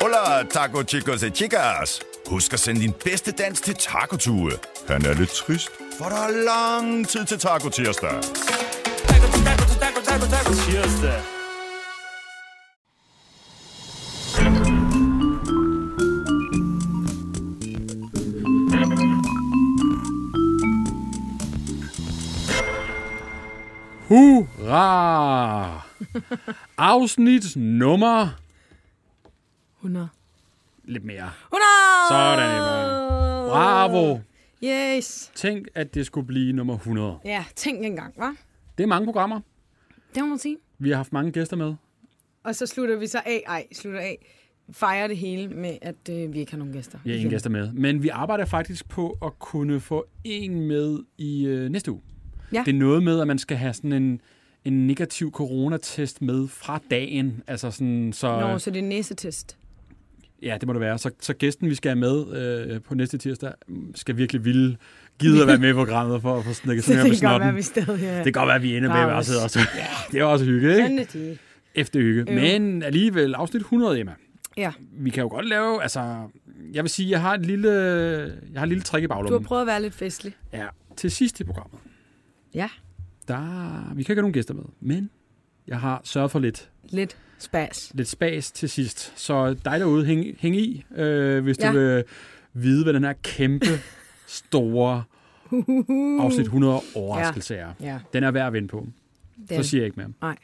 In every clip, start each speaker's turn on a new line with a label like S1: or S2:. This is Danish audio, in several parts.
S1: Hola, taco chicos e chicas. Husk at sende din bedste dans til Taco Tue. Han er lidt trist, for der er lang tid til Taco Tirsdag.
S2: Taco, taco, taco, taco, taco, tirsdag.
S3: Hurra! Afsnit nummer...
S4: 100.
S3: Lidt mere.
S4: 100!
S3: Sådan, Emma. Bravo!
S4: Yes.
S3: Tænk, at det skulle blive nummer 100.
S4: Ja, tænk engang, hva?
S3: Det er mange programmer.
S4: Det må man sige.
S3: Vi har haft mange gæster med.
S4: Og så slutter vi så af, ej, slutter af, fejrer det hele med, at øh, vi ikke har nogen gæster.
S3: Ja, ingen
S4: Igen.
S3: gæster med. Men vi arbejder faktisk på at kunne få en med i øh, næste uge.
S4: Ja.
S3: Det er noget med, at man skal have sådan en, en negativ coronatest med fra dagen. Altså sådan, så,
S4: Nå, så det er næsetest.
S3: Ja, det må det være. Så, så gæsten, vi skal have med øh, på næste tirsdag, skal virkelig ville gide at være med i programmet for at få snakket
S4: Så
S3: sådan her med
S4: det kan godt være,
S3: snoppen.
S4: vi stadig er.
S3: Det kan godt være, at vi ender med at
S4: Varme
S3: være
S4: os.
S3: sidder også. Ja, det er også hygge, ikke?
S4: Sådan er de.
S3: Efter hygge.
S4: Øv.
S3: Men alligevel, afsnit 100, Emma.
S4: Ja,
S3: Vi kan jo godt lave, altså... Jeg vil sige, jeg har et lille, jeg har et lille trick i
S4: du har
S3: baglommen.
S4: prøvet at være lidt festlig.
S3: Ja, til sidst i programmet,
S4: Ja,
S3: der... Vi kan ikke have nogen gæster med, men jeg har sørget for lidt,
S4: lidt spas.
S3: lidt spas til sidst. Så dig derude, hæng, hæng i, øh, hvis ja.
S4: Ja.
S3: du vil vide, hvad den her kæmpe, store afsnit 100 overraskelse ja. er.
S4: Ja,
S3: Den er værd at vinde på.
S4: det
S3: Så
S4: er
S3: siger jeg ikke mere.
S4: Nej.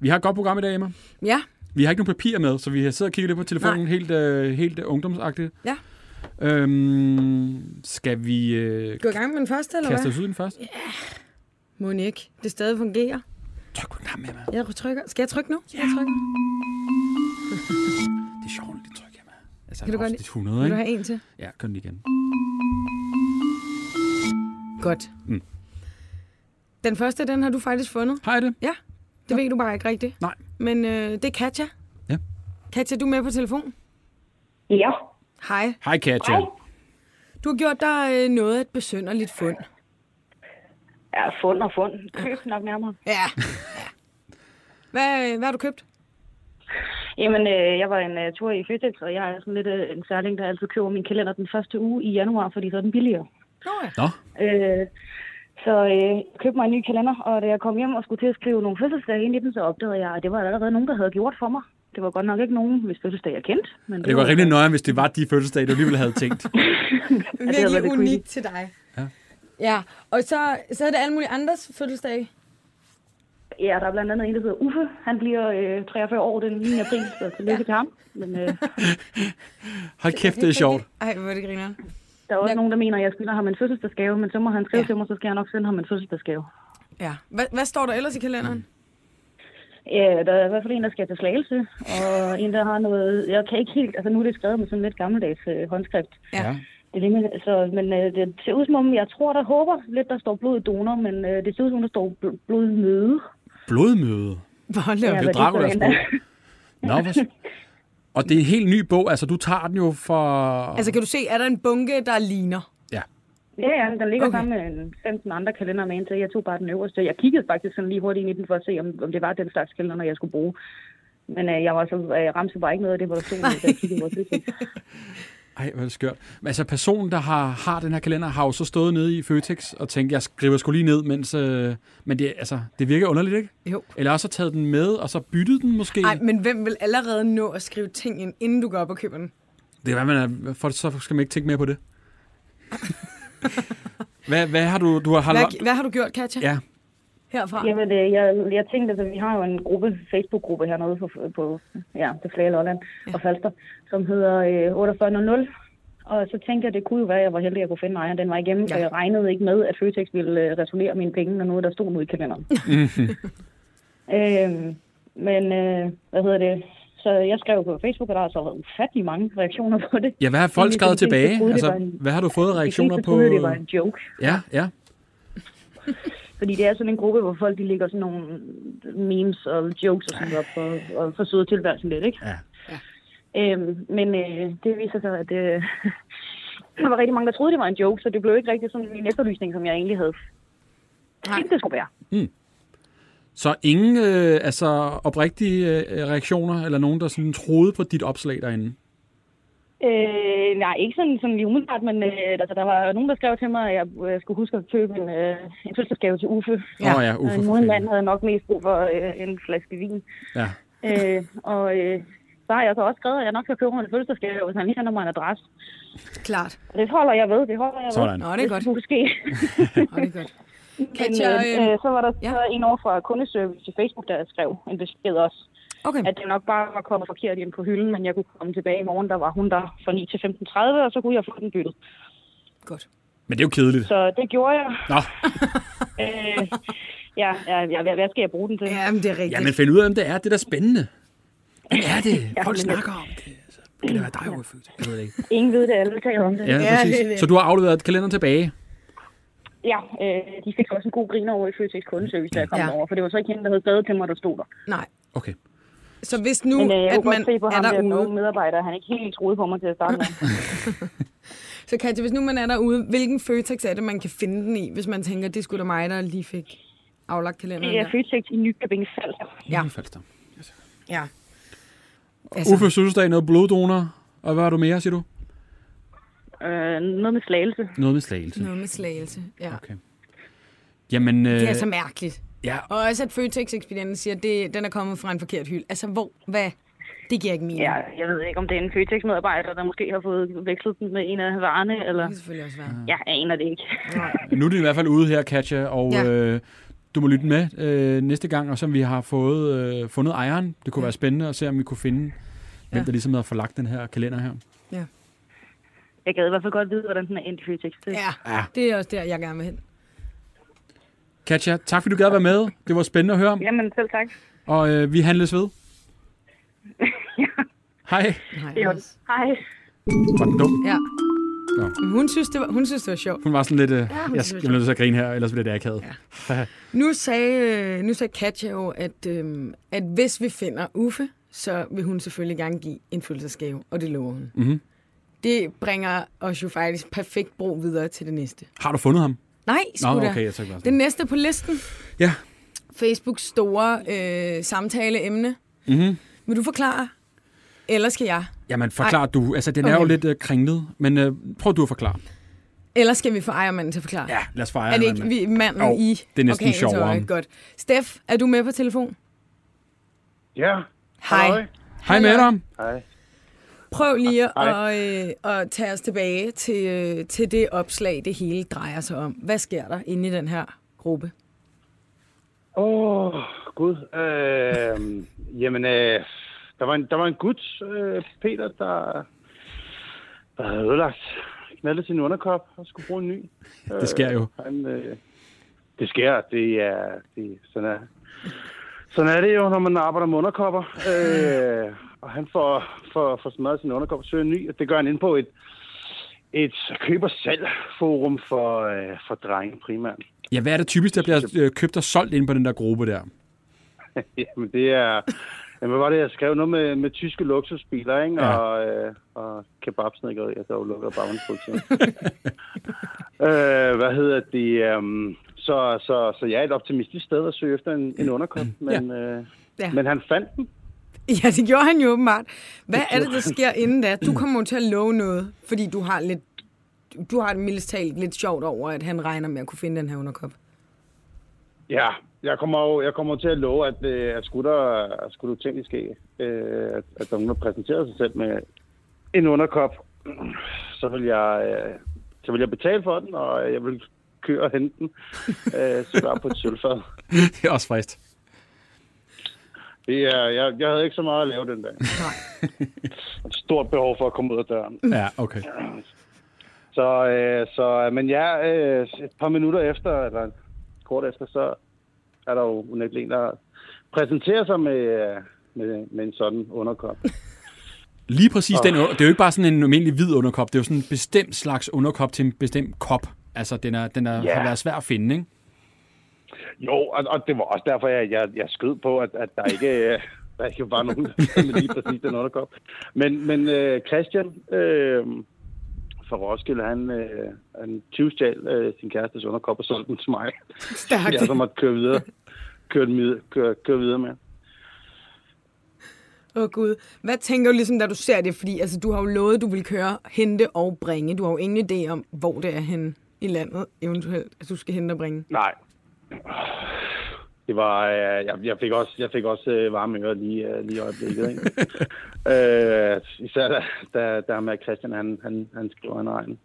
S3: Vi har et godt program i dag, Emma.
S4: Ja,
S3: Vi har ikke nogen papir med, så vi har siddet og kigget lidt på telefonen,
S4: Nej.
S3: helt, øh, helt øh, ungdomsagtigt.
S4: Ja.
S3: Øhm, skal vi øh,
S4: gå i gang med den første, eller
S3: kaste
S4: hvad?
S3: os ud i den først?
S4: Må den ikke. Det stadig fungerer.
S3: Tryk på knappen, Emma.
S4: Jeg trykker. Skal jeg trykke nu? Skal jeg trykke?
S3: Det er sjovt, det tryk, Emma. Altså,
S4: Kan du godt-
S3: afsnit 100,
S4: Vil du
S3: ikke?
S4: have en til?
S3: Ja, gør den lige igen.
S4: Godt.
S3: Mm.
S4: Den første, den har du faktisk fundet.
S3: Hej det.
S4: Ja, det ved du bare ikke rigtigt.
S3: Nej.
S4: Men øh, det er Katja.
S3: Ja.
S4: Katja, du er med på telefon.
S5: Ja,
S4: Hej.
S3: Hej, Katja.
S5: Hej.
S4: Du har gjort dig øh, noget af et besønderligt fund.
S5: ja fund og fund. Køb nok nærmere.
S4: Ja. hvad, øh, hvad har du købt?
S5: Jamen, øh, jeg var en øh, tur i Føtex, og jeg er sådan lidt øh, en særling, der altid køber min kalender den første uge i januar, fordi så er den billigere.
S4: Nå ja.
S3: Nå,
S5: Øh, så øh, jeg købte mig en ny kalender, og da jeg kom hjem og skulle til at skrive nogle fødselsdage ind i den, så opdagede jeg, at det var allerede nogen, der havde gjort for mig. Det var godt nok ikke nogen, hvis fødselsdag jeg kendte. Men
S3: det var rimelig nøje, hvis det var de fødselsdage, du alligevel havde tænkt.
S5: det har været
S4: Virkelig
S5: lidt
S4: unikt til dig.
S3: Ja.
S4: Ja, og så, så er det alle mulige andres fødselsdag.
S5: Ja, der er blandt andet en, der hedder Uffe. Han bliver øh, 43 år den 9. april, så tillykke til ham. Men øh,
S3: Hold kæft, det er sjovt.
S4: Ej, hvor er det griner.
S5: der er også
S4: Jeg-
S5: nogen, der mener, at jeg skylder ham en fødselsdagsgave, men så må han skrive
S4: Ja.
S5: ja. til mig, så skal jeg nok sende ham en fødselsdagsgave.
S4: Ja. Hvad, hvad står der ellers i kalenderen?
S3: Mm.
S5: Ja, Øh, der er i hvert fald en, der skal til slagelse, og en, der har noget... Jeg kan ikke helt... Altså, nu er det skrevet med sådan lidt gammeldags øh, håndskrift.
S4: Ja.
S5: Det er lige, så, men øh, det ser ud som om, jeg tror, der håber lidt, der står blod donor, men øh, det ser ud som om, der står bl- blodmøde.
S3: Blodmøde.
S4: Bolle. Ja,
S3: Det er
S5: hvad
S3: jo
S5: det er for
S3: Draculas
S5: en,
S3: bog. Nå, hvor... s- Og det er en helt ny bog, altså du tager den jo for...
S4: Altså, kan du se, er der en bunke, der ligner?
S3: Ja.
S5: Ja, ja, men den ligger
S4: Okay.
S5: okay. sammen med en 15 andre kalender med en til. Jeg tog bare den øverste. Jeg kiggede faktisk sådan lige hurtigt ind i den for at se, om, om det var den slags kalender, jeg skulle bruge. Men øh, jeg var så, øh, ramte bare ikke noget af det, hvor der stod, da jeg kiggede på det.
S3: Ej, hvor er det skørt. Men altså, personen, der har, har den her kalender, har jo så stået nede i Føtex og tænkt, jeg skriver sgu lige ned, mens... Øh, men det, er- altså, det virker underligt, ikke?
S4: Jo.
S3: Eller også har taget den med, og så byttet den måske.
S4: Ej, men hvem vil allerede nå at skrive ting ind, inden du går op og køber den?
S3: Det er, hvad man er, for så skal man ikke tænke mere på det. hvad, hvad har du... du har, har
S4: Hvad, hvad har du gjort, Katja,
S3: Ja,
S4: herfra?
S3: Ah.
S5: Jamen, øh, jeg, jeg tænkte, at vi har jo en gruppe, Facebook-gruppe hernede på, på ja, det flere Lolland ja. og Falster, som hedder øh, 4800. Og så tænkte jeg, det kunne jo være, at jeg var heldig, at jeg kunne finde ejeren. Den var igennem,
S4: Ja.
S5: ja. jeg regnede ikke med, at Føtex ville øh, returnere mine penge, når noget der stod nu i kalenderen. øhm, men, øh, hvad hedder det? Så jeg skrev på Facebook, og der har så været ufattelig mange reaktioner på det.
S3: ja hvad har folk
S5: Egentlig,
S3: skrevet
S5: de fleste
S3: tilbage?
S5: troede, det
S3: altså,
S5: var en-
S3: hvad har du fået af reaktioner
S5: de
S3: på...
S5: fleste troede, det var en joke.
S3: Ja, ja.
S5: Fordi det er sådan en gruppe, hvor folk de ligger sådan nogle memes og jokes og sådan noget op for, og for søde tilværelsen lidt, ikke?
S3: Ja.
S5: Øhm, men øh, det viser sig, at øh, der var rigtig mange, der troede, det var en joke, så det blev ikke rigtig sådan en efterlysning, som jeg egentlig havde tænkt, det skulle være.
S3: Så ingen øh, altså, oprigtige øh, reaktioner, eller nogen, der sådan troede på dit opslag derinde?
S5: Øh, nej, ikke sådan, sådan lige umiddelbart, men øh, altså, der var nogen, der skrev til mig, at jeg øh, skulle huske at købe en, øh, en fødselsdagsgave til Uffe.
S3: Ja. Nå ja,
S5: Uffe
S3: Uffe.
S5: øh,
S3: for
S5: nogen mand
S3: fanden.
S5: havde nok mest brug for øh, en flaske vin.
S3: Ja.
S5: Øh, og øh, så har jeg så også skrevet, at jeg nok skal købe ham en fødselsdagsgave, hvis han lige sender mig en adresse.
S4: Klart.
S5: Og det holder jeg ved, det holder jeg ved.
S3: Sådan.
S4: Nå, det er godt.
S5: Det skulle ske.
S4: Nå, det er godt.
S5: Men,
S4: Katja,
S5: øh,
S4: øh,
S5: øh, så var der
S4: ja.
S5: ja. så en over fra kundeservice i Facebook, der skrev en besked også,
S4: okay.
S5: at det nok bare var kommet forkert ind på hylden, men jeg kunne komme tilbage i morgen, der var hun der fra 9 til 15.30, og så kunne jeg få den byttet.
S4: Godt.
S3: Men det er jo kedeligt.
S5: Så det gjorde jeg.
S3: Nå,
S5: Øh, ja, ja, ja, hvad, hvad skal jeg bruge den til?
S4: Ja, men det er rigtigt.
S3: ja, men find ud af, om det er. Det er da spændende. Hvad er det? Folk snakker om det. Altså, kan det være dig, Uffe? Jeg ved det ikke.
S5: Ingen ved det, alle taler om det.
S3: Ja,
S4: Ja, det er
S3: præcis.
S4: det.
S3: Så du har afleveret kalenderen tilbage.
S5: Ja, øh, de fik også en god griner over i Føtex kundeservice, da jeg kom
S4: Ja.
S5: ja. over, for det var så ikke hende, der havde skrevet til mig, der stod der.
S4: Nej.
S3: Okay.
S4: Så hvis nu,
S5: Men øh, jeg
S4: at
S5: kunne
S4: man
S5: godt se på
S4: er
S5: ham, der
S4: derude,
S5: nogle medarbejdere, han ikke helt troede på mig til at starte med.
S4: så Katja, hvis nu man er derude, hvilken Føtex er det, man kan finde den i, hvis man tænker, det skulle da mig, der lige fik aflagt kalenderen
S5: Det er
S4: der?
S5: Føtex i Nykøbing Falster.
S4: Ja,
S3: Falster.
S4: ja.
S3: Altså. Uffe fødselsdag, noget bloddonor. Og hvad har du mere, siger du?
S5: Øh, noget med slagelse.
S3: Noget med slagelse.
S4: Noget med slagelse, ja.
S3: Okay. Jamen, øh,
S4: Det er så mærkeligt.
S3: ja,
S4: Og også, at Føtex-ekspedienten siger, at det, den er kommet fra en forkert hylde. Altså, hvor, hvad? Det giver ikke mening.
S5: Ja,
S4: Ja.
S5: jeg ved ikke, om det er en Føtex-medarbejder, der måske har fået vekslet den med en af varerne, eller...
S4: Det kan selvfølgelig også være.
S5: Jeg aner det ikke.
S3: nu er det i hvert fald ude her, Katja, og
S4: Ja.
S3: ja. øh, du må lytte med øh, næste gang, og som vi har fået, øh, fundet ejeren. Det kunne ja. være spændende at se, om vi kunne finde, hvem
S4: Ja.
S3: der ligesom havde forlagt den her kalender her.
S4: Ja.
S5: Jeg gad i hvert fald godt vide, hvordan den er endt i Føtex. Det-
S4: Ja. ja, det er også der, jeg gerne vil hen.
S3: Katja, tak fordi du gad at være med. Det var spændende at høre om,
S5: Jamen, selv tak.
S3: og øh, vi handles ved. Hej.
S4: Nej,
S5: Jo.
S4: Anders.
S5: Hej.
S3: Var den dum?
S4: ja.
S3: Nå.
S4: Men Hun synes, det var, hun synes, det var sjovt.
S3: Hun var sådan lidt, øh,
S4: Ja, hun
S3: jeg, jeg
S4: synes, det
S3: bliver nødt til at grine her, ellers bliver det akavet. Ja.
S4: Nu sagde, øh, nu sagde Katja jo, at, øhm, at hvis vi finder Uffe, så vil hun selvfølgelig gerne give en fødselsdagsgave, og det lover hun.
S3: Mhm.
S4: Det bringer os jo faktisk perfekt bro videre til det næste.
S3: Har du fundet ham?
S4: Nej,
S3: Nå,
S4: sgu da.
S3: okay, jeg tænkte bare
S4: Det
S3: sådan.
S4: næste på listen,
S3: Ja.
S4: Facebooks store øh, samtaleemne.
S3: Mhm.
S4: Vil du forklare? Eller skal jeg?
S3: Jamen, forklar du. Altså, den er jo
S4: Okay.
S3: lidt øh, kringlet, men øh, prøv du at forklare.
S4: Eller skal vi få ejermanden til at forklare?
S3: Ja, lad os fejre.
S4: Er det
S3: mand.
S4: ikke vi, manden
S3: Jo,
S4: i?
S3: det er næsten
S4: orkanens
S3: sjovere.
S4: øje? Godt. Steff, er du med på telefon?
S6: Ja,
S4: Hej.
S6: Halløj.
S3: Hej med dig.
S6: hej.
S4: Prøv lige at, øh, at tage os tilbage til, øh, til det opslag, det hele drejer sig om. Hvad sker der inde i den her gruppe?
S6: Åh, oh, gud. Øh, jamen, øh, der, var en, der var en gut, øh, Peter, der, der havde ødelagt knaldet sin underkop og skulle bruge en ny. Øh,
S3: Det sker jo.
S6: Han, øh, det sker, det er, det, sådan, er, sådan er det jo, når man arbejder med underkopper. Øh, og han får, får, får smadret sin underkop og søger en ny, og det gør han ind på et, et køber-salg-forum for, øh, for drenge primært.
S3: Ja, hvad er det typisk, der bliver øh, købt og solgt ind på den der gruppe der?
S6: Jamen, det er... Jamen, hvad var det, jeg skrev? Noget med, med tyske luksusbiler, ikke?
S3: Ja.
S6: Ja. Og, øh, og kebabsnikkeri, jeg dog lukker bagenspolitiet. øh, hvad hedder det? Um, så, så, så jeg er et optimistisk sted at søge efter en, en underkop, men, øh,
S4: Ja.
S6: ja. men han fandt den.
S4: Ja, det gjorde han jo åbenbart. Hvad er det, der sker inden da? Du kommer jo til at love noget, fordi du har lidt du har det mildest talt lidt sjovt over, at han regner med at kunne finde den her underkop.
S6: Ja, jeg kommer, jo, jeg kommer til at love, at, øh, at skulle der, at skulle der ting ske, øh, at, at der er nogen, der præsenterer sig selv med en underkop, så vil jeg, øh, så vil jeg betale for den, og jeg vil køre og hente den, øh, så bare på et sølvfad.
S3: Det er også frist.
S6: Det er, jeg, jeg havde ikke så meget at lave den dag. Et stort behov for at komme ud af døren.
S3: Ja, okay.
S6: Så, øh, så men ja, øh, et par minutter efter, eller kort efter, så er der jo unægteligt en, der præsenterer sig med, øh, med, med en sådan underkop.
S3: Lige præcis den under- Det er jo ikke bare sådan en almindelig hvid underkop. Det er jo sådan en bestemt slags underkop til en bestemt kop. Altså, den, er, den er,
S6: Ja.
S3: har været svær at finde, ikke?
S6: Jo, og, og det var også derfor, jeg, jeg, jeg skød på, at, at der ikke... øh, Der ikke var nogen, der havde lige præcis den underkop. Men, men øh, Christian øh, fra Roskilde, han, øh, han tyvstjal øh, sin kærestes underkop og solgte den til mig.
S4: Stærkt.
S6: Jeg så måtte køre videre, køre, den vid- køre, køre videre med.
S4: Åh oh, gud. Hvad tænker du ligesom, da du ser det? Fordi altså, du har jo lovet, du vil køre, hente og bringe. Du har jo ingen idé om, hvor det er henne i landet, eventuelt, at du skal hente og bringe.
S6: Nej. Det var, øh, jeg, jeg fik også, jeg fik også øh, varme ører lige, øh, lige i øjeblikket. Ikke? øh, især da, da, da med Christian, han, han, han skriver en regn.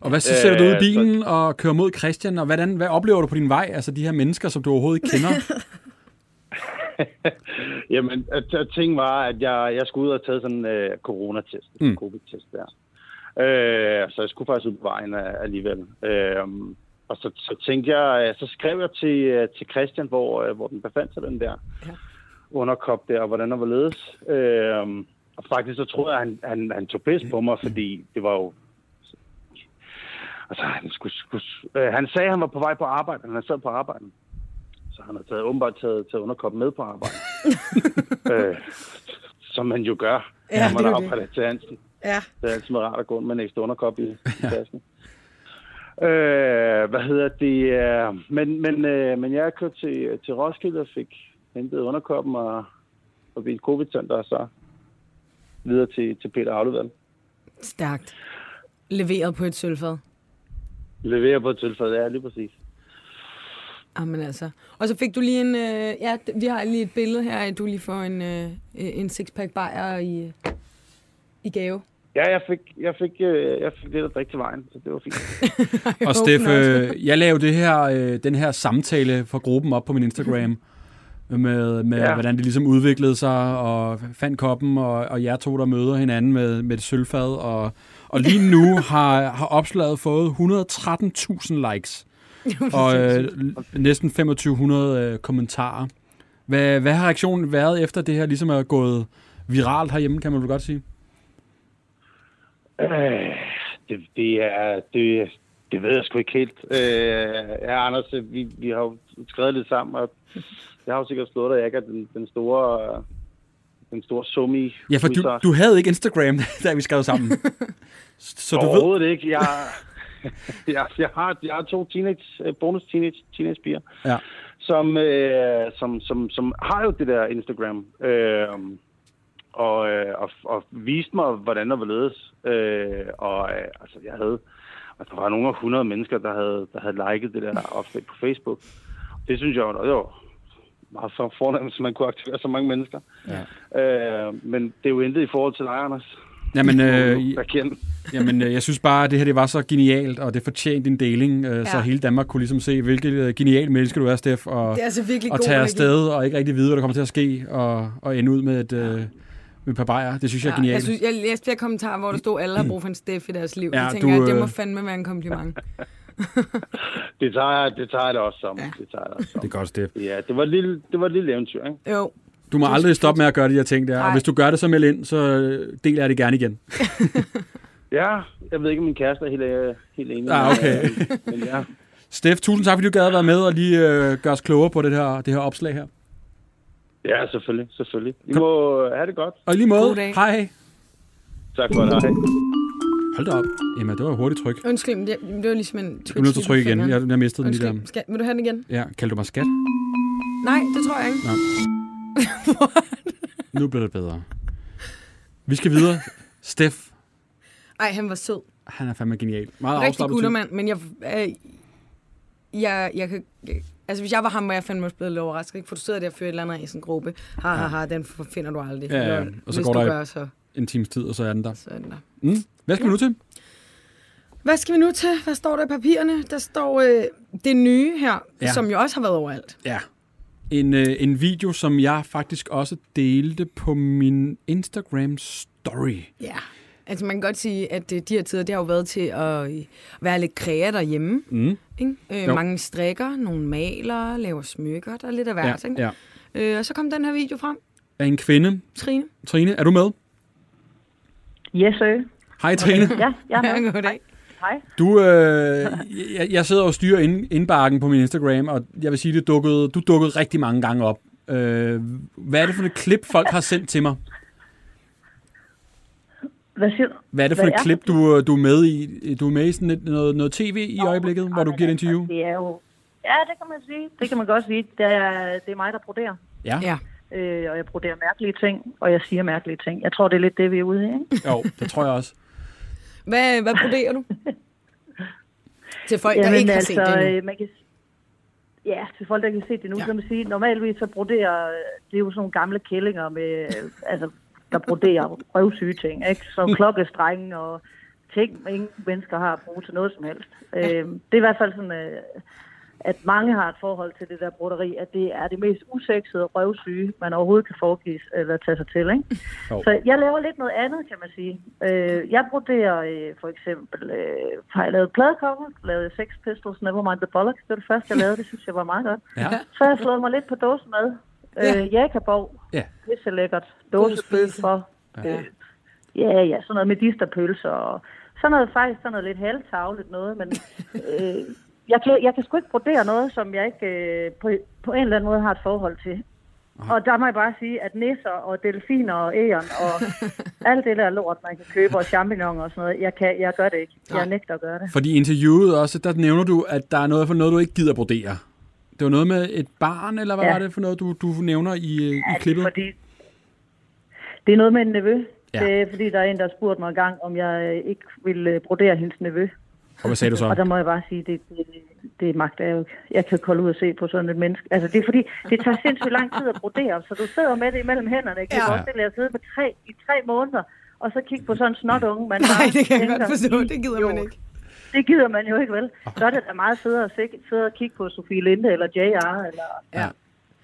S3: Og hvad så sætter du ud i
S6: Øh,
S3: bilen og kører mod Christian, og hvordan, hvad oplever du på din vej? Altså de her mennesker, som du overhovedet ikke kender.
S6: Jamen, at, at ting var, at jeg, jeg skulle ud og tage sådan en øh, coronatest,
S3: Mm.
S6: mm. covid-test der. Øh, så jeg skulle faktisk ud på vejen øh, alligevel. Øh, og så, så tænkte jeg, øh, så skrev jeg til, øh, til Christian, hvor, øh, hvor den befandt sig, den der
S4: Ja.
S6: ja. underkop der, og hvordan og hvorledes. Øh, og faktisk så troede jeg, at han, han, han tog pis på mig, fordi det var jo Altså, han, skulle, skulle, øh, han sagde, at han var på vej på arbejde, men han sad på arbejde. Så han har taget, åbenbart taget, taget underkoppen med på arbejde. øh, som man jo gør,
S4: Ja,
S6: ja, når
S4: det
S6: man
S4: er jo
S6: arbejder til Hansen.
S4: Ja.
S6: Det er altid rart at gå rundt med en ekstra underkop i, i tasken. Øh, hvad hedder det? øh, Men, men, øh, men jeg kørte til, til Roskilde og fik hentet underkoppen og forbi et covid-center og så videre til, til Peter Aflevald.
S4: Stærkt. Leveret på et sølvfad.
S6: Leverer på et tilfælde, ja, lige præcis.
S4: Jamen altså. Og så fik du lige en... Øh, ja, d- vi har lige et billede her, at du lige får en, øh, en sixpack bajer i, i gave.
S6: Ja, jeg fik, jeg fik, øh, jeg fik lidt at drikke til vejen, så det var fint.
S3: og Steff, øh, jeg lavede det her, øh, den her samtale for gruppen op på min Instagram, med, med ja.
S6: Ja.
S3: hvordan det ligesom udviklede sig, og fandt koppen, og, og jer to, der møder hinanden med, med et sølvfad. Og, og lige nu har, har opslaget fået 113.000 likes, og øh, næsten 2500 øh, kommentarer. Hvad, hvad har reaktionen været efter det her ligesom er gået viralt herhjemme, kan man vel godt sige?
S6: Øh, det, det, er, det, det ved jeg sgu ikke helt. Øh, ja, Anders, øh, vi, vi har jo skrevet lidt sammen, og jeg har jo sikkert slået dig, jeg ikke er den, den store, øh, den store summi.
S3: Ja, for du,
S6: udtager.
S3: du havde ikke Instagram, da vi skrev sammen. Så du ved,
S6: Overhovedet ikke. Jeg, jeg, jeg, har, jeg har to teenage, øh, bonus teenage, teenage piger,
S3: Ja.
S6: som, øh, som, som, som har jo det der Instagram, øh, og, øh, og, og viste mig, hvordan der var ledes. Øh, og øh, altså, jeg havde, og der var nogle af 100 mennesker, der havde, der havde liket det der opslag på Facebook. Det synes jeg var, det var meget for- fornemt, at man kunne aktivere så mange mennesker. Ja. Øh, men det er jo intet i forhold til dig, Anders.
S3: jamen, øh,
S6: Jeg kender.
S3: jamen, øh, jeg synes bare, at det her det var så genialt, og det fortjente en deling, øh, ja. så
S4: Ja.
S3: hele Danmark kunne ligesom se, hvilket øh, genialt menneske du er, Steff, og,
S4: Det er altså virkelig
S3: og
S4: god
S3: tage
S4: energi.
S3: afsted og ikke rigtig vide, hvad der kommer til at ske, og, og ende ud med et, øh, med et par bajer. Det synes jeg er
S4: Ja, jeg,
S3: genialt.
S4: synes, jeg læste flere kommentarer, hvor der stod, alle har brug for en Steff i deres liv. Ja,
S3: Ja,
S4: jeg tænker,
S3: du,
S4: at det må
S3: øh,
S4: fandme være en kompliment.
S6: Det tager, jeg- det tager jeg det også sammen. Ja. Det tager jeg det også
S3: Det er
S6: sammen.
S3: godt, Steff.
S6: Ja, det var et lille, det var et lille eventyr, ikke?
S4: Jo,
S3: Du må aldrig stoppe med at gøre de her ting der, og
S4: Nej.
S3: hvis du gør det, så meld ind, så øh, deler jeg det gerne igen.
S6: Ja, jeg ved ikke, om min kæreste er helt, øh, helt enig.
S3: Ah, okay.
S6: Men, men ja.
S3: Steff, tusind tak, fordi du gad at være med og lige øh, gøre os klogere på det her, det her opslag her.
S6: ja, selvfølgelig, selvfølgelig. I må øh, have det godt.
S3: Og i lige
S4: God
S3: måde,
S4: dag.
S3: hej.
S6: Tak for det. Hej.
S3: Hold da op. Jamen, det var hurtigt tryk.
S4: undskyld, men det, det var ligesom en twitch.
S3: Du er nødt til at trykke igen. Jeg, jeg mistede den lige
S4: Undskyld,
S3: der.
S4: skal, vil du have den igen?
S3: Ja, kaldte du mig skat?
S4: Nej, det tror jeg ikke.
S3: Nu bliver det bedre. Vi skal videre. Steff,
S4: Ej, han var sød.
S3: han er fandme genial. Meget
S4: Rigtig
S3: afslappet type.
S4: guttermand, men jeg, øh, jeg, jeg kan... Jeg, altså, hvis jeg var ham, var jeg fandme også blevet lidt overrasket. Ikke? For du sidder der og fyrer et eller andet af i sådan en gruppe. Ha, ha, ha, den f- finder du aldrig.
S3: Ja, ja.
S4: Lol.
S3: Og så
S4: hvis
S3: går
S4: du
S3: der-
S4: gør, så,
S3: En times tid, og så er den der.
S4: så er den der.
S3: Mm. Hvad skal vi nu til?
S4: Hvad skal vi nu til? Hvad står der i papirerne? Der står øh, det nye her,
S3: Ja.
S4: ja. som jo også har været overalt.
S3: Ja. En, øh, en video, som jeg faktisk også delte på min Instagram story.
S4: Ja. Altså, man kan godt sige, at øh, de her tider, det har jo været til at øh, være lidt kræer derhjemme.
S3: Mm.
S4: Ikke? Øh,
S3: Jo.
S4: mange strikker, nogle maler, laver smykker, der er lidt af
S3: Ja,
S4: hvert. ikke?
S3: ja.
S4: Øh, og så kom den her video frem,
S3: Af en kvinde.
S4: Trine.
S3: Trine, er du med?
S5: Yes, sir.
S3: Hej Trine.
S5: Ja, jeg er med.
S4: Ja, goddag.
S5: Hej.
S3: Du, øh, jeg, jeg sidder og styrer ind, indbakken på min Instagram, og jeg vil sige, det dukkede, du dukkede rigtig mange gange op. Øh, hvad er det for et klip, folk har sendt til mig?
S5: Hvad siger du?
S3: Hvad er det for
S5: Hvad
S3: et
S5: er
S3: klip, du, du er med i? Du er med i sådan et, noget, noget tv i øjeblikket, hvor du
S5: Jamen,
S3: giver et
S5: altså,
S3: interview?
S5: Det er jo... Ja, det kan man sige. Det kan man godt sige. Det er, det er mig, der broderer.
S3: Ja.
S4: Ja.
S7: øh, og jeg broderer mærkelige ting, og jeg siger mærkelige ting. Jeg tror, det er lidt det, vi er ude i, ikke?
S3: Jo, det tror jeg også.
S4: Hvad, hvad broderer du? Til folk, der ikke har set det endnu.
S7: øh, man kan, Ja, til folk, der ikke har set det nu,
S4: Ja.
S7: ja. kan man sige, normalvis så broderer, øh, det er jo sådan nogle gamle kællinger med, øh, altså, der broderer røvsyge ting, ikke? Så
S4: Mm.
S7: klokkestrenge og ting, ingen mennesker har at bruge til noget som helst. Ja. Øh, det er i hvert fald sådan, øh, at mange har et forhold til det der broderi, at det er det mest usexede røvsyge, man overhovedet kan foregive eller tage sig til, ikke?
S3: Jo.
S7: Så jeg laver lidt noget andet, kan man sige. Øh, jeg broderer øh, for eksempel, øh, har jeg lavet pladecover, lavet Sex Pistols, Nevermind the Bollocks, det var det første, jeg lavede, det synes jeg var meget godt.
S3: Ja.
S7: Så har jeg slået mig lidt på dåsen med. Øh, Jakaborg,
S3: Ja.
S7: pisse lækkert,
S4: God spise.
S7: dåsepølser, ja. Øh, ja, ja, sådan noget medisterpølser, og sådan noget faktisk sådan noget lidt halvtavligt noget, men øh, jeg, kan, jeg kan sgu ikke brodere noget, som jeg ikke øh, på, på en eller anden måde har et forhold til. Og der må jeg bare sige, at nisser og delfiner og æren og alt det der lort, man kan købe, og champignoner og sådan noget, jeg, kan, jeg gør det ikke. Jeg nægter at gøre det.
S3: Fordi i interviewet også, der nævner du, at der er noget for noget, du ikke gider brodere. Det var noget med et barn, eller hvad ja.
S7: Ja.
S3: var det for noget, du, du nævner i, øh, i
S7: Ja, det er
S3: klippet?
S7: Fordi det er noget med en nevø.
S3: Ja.
S7: Ja. Det er, fordi der er en, der spurgte mig engang, om jeg øh, ikke ville øh, brodere hendes nevø.
S3: Og hvad sagde du
S7: Og der
S3: så?
S7: må jeg bare sige, det, det, det magter jeg jo ikke. Jeg kan kolde ud og se på sådan et menneske. Altså, det er fordi, det tager sindssygt lang tid at brodere, så du sidder med det imellem hænderne. Jeg kan
S4: Ja.
S7: ja. forestille jer at sidde på tre, i tre måneder, og så kigge på sådan en snot unge, man
S4: Nej,
S7: bare
S4: det kan jeg
S7: tænker,
S4: godt forstå. Det gider man
S7: "Idiot."
S4: ikke.
S7: Det gider man jo ikke, vel? Så er det da meget federe at se- sidde og kigge på Sofie Linde, eller J.R., eller
S3: Ja.
S7: ja.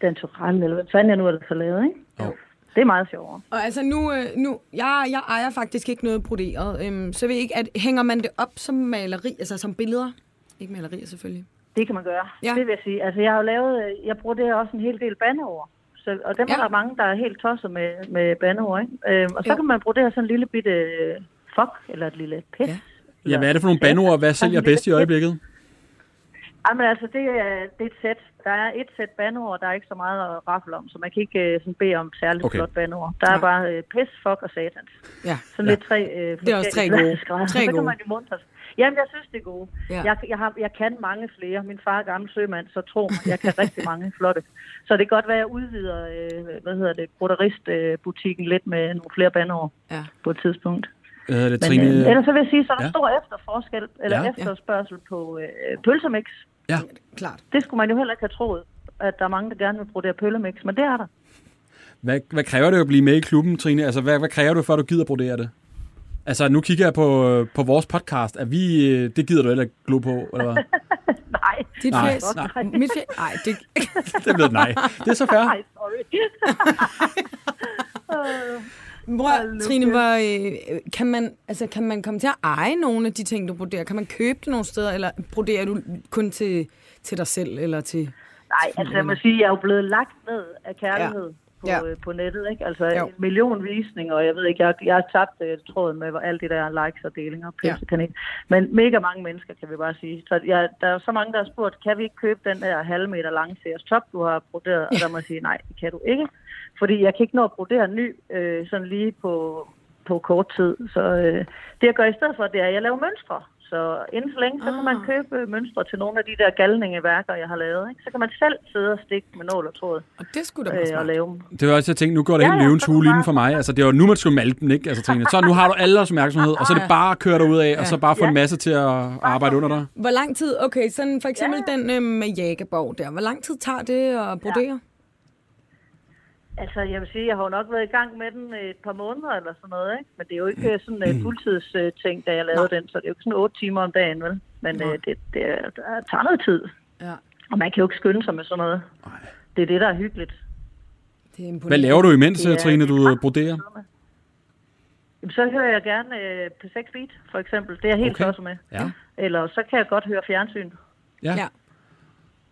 S7: Dan Torell, eller hvad fanden jeg nu har fået ikke?
S3: Jo.
S7: Det er meget sjovere.
S4: Og altså nu, øh, nu jeg, jeg ejer faktisk ikke noget broderet. Øhm, så ved jeg ikke, at hænger man det op som maleri, altså som billeder? Ikke malerier selvfølgelig.
S7: Det kan man gøre.
S4: Ja.
S7: Ja. Det vil jeg sige. Altså, jeg har jo lavet, øh, jeg bruger det her også en hel del bandeord. Så, og dem
S4: Ja.
S7: ja. er der mange, der er helt tosset med, med bandeord, ikke? Øhm, og så
S4: Jo.
S7: kan man bruge det her sådan en lille bitte øh, fuck, eller et lille pis.
S4: Ja.
S7: Ja.
S3: Ja, hvad er det for nogle bandeord? Hvad sælger bedst i øjeblikket?
S7: Jamen altså, det er, det er et sæt. Der er et sæt bandeord, der er ikke så meget at rafle om, så man kan ikke øh, sådan bede om særligt
S3: Okay.
S7: okay. flot bandeord. Der er
S4: Nej.
S7: bare øh, pis, fuck og satans.
S4: Ja.
S7: Sådan ja. lidt tre øh,
S4: Det er også tre gode. Tre
S7: Tre så kan
S4: gode.
S7: man jo muntre sig. Jamen, jeg synes, det er gode.
S4: Ja.
S7: Ja. Jeg, jeg, har, jeg kan mange flere. Min far er gammel sømand, så tro mig, jeg kan rigtig mange flotte. Så det kan godt være, at jeg udvider, øh, hvad hedder det, broderistbutikken øh, butikken lidt med nogle flere bandeord
S4: Ja.
S7: på et tidspunkt.
S3: Hvad hedder det,
S7: Men
S3: Trine?
S7: øh, ellers så vil jeg sige, så er der
S3: Ja.
S7: ja. stor efterforskel, eller
S3: Ja.
S7: ja. efterspørgsel på øh, pølsemix.
S3: Ja,
S4: Klart.
S7: Det skulle man jo heller ikke have troet, at der er mange, der gerne vil bruge det her pøllemix, men det er der.
S3: hvad, hvad kræver det at blive med i klubben, Trine? Altså, hvad, hvad kræver du, før du gider brodere det? Altså, nu kigger jeg på, øh, på vores podcast. Er vi, øh, det gider du heller ikke glo på, eller hvad?
S7: Nej,
S4: Dit
S3: Nej,
S4: fjes.
S3: nej.
S4: Mit fjes. Nej, det...
S3: Det blev et nej. Det er så
S7: nej,
S3: fair.
S7: sorry.
S4: Bror, Trine, hvor, øh, kan, man, altså, kan man komme til at eje nogle af de ting, du broderer? Kan man købe det nogle steder, eller broderer du kun til, til dig selv, eller til...
S7: Nej, altså jeg må sige, jeg er jo blevet lagt ned af kærlighed
S4: Ja.
S7: ja. På,
S4: Ja.
S7: ja. på nettet, ikke? Altså
S4: Jo.
S7: jo. en million visninger, og jeg ved ikke, jeg, jeg har tabt øh, tråden med hvor alt det der likes og delinger og
S4: Ja.
S7: pissekanin. Men mega mange mennesker, kan vi bare sige. Så jeg, der er jo så mange, der har spurgt, kan vi ikke købe den der halve meter lange CS Top, du har broderet? Og der må jeg sige, nej, det kan du ikke. Fordi jeg kan ikke nå at brodere en ny øh, sådan lige på, på kort tid. Så øh, det jeg gør i stedet for, det er, at jeg laver mønstre. Så inden for længe, så kan
S4: Ah.
S7: man købe øh, mønstre til nogle af de der galningeværker, jeg har lavet. Ikke? Så kan man selv sidde og stikke med nål og tråd
S4: Og det skulle da være
S7: øh, og
S4: smart.
S7: lave dem.
S3: Det var også, jeg tænkte, nu går det
S7: Ja,
S3: helt
S7: ja,
S3: løvens
S7: så er det
S3: hule
S7: bare-
S3: inden for mig. Altså, det var nu, man skulle malke den, ikke? Altså, Trine. Så nu har du alles opmærksomhed, og så er
S7: Ah,
S3: det bare at køre dig ud af, og så bare få en masse til at arbejde under dig.
S4: Hvor lang tid, okay, sådan for eksempel den øh, med Jægerborg der, hvor lang tid tager det at brodere?
S7: Altså, jeg vil sige, jeg har jo nok været i gang med den øh, et par måneder eller sådan noget, ikke? Men det er jo ikke øh, sådan
S3: Mm.
S7: en fuldtidsting, da jeg lavede den, så det er jo ikke sådan otte timer om dagen, vel? Men øh, det, det er- der tager noget tid,
S4: Ja,
S7: og man kan jo ikke skynde sig med sådan noget. Det er det, der er hyggeligt.
S4: det er imponerende.
S3: Hvad laver du imens,
S7: Det er-
S3: Trine, du øh, broderer?
S7: Jamen, så hører jeg gerne øh, på 6 beat, for eksempel. Det er jeg helt
S3: Okay.
S7: okay. tosset med.
S3: Ja.
S7: Eller så kan jeg godt høre fjernsyn.
S4: Ja.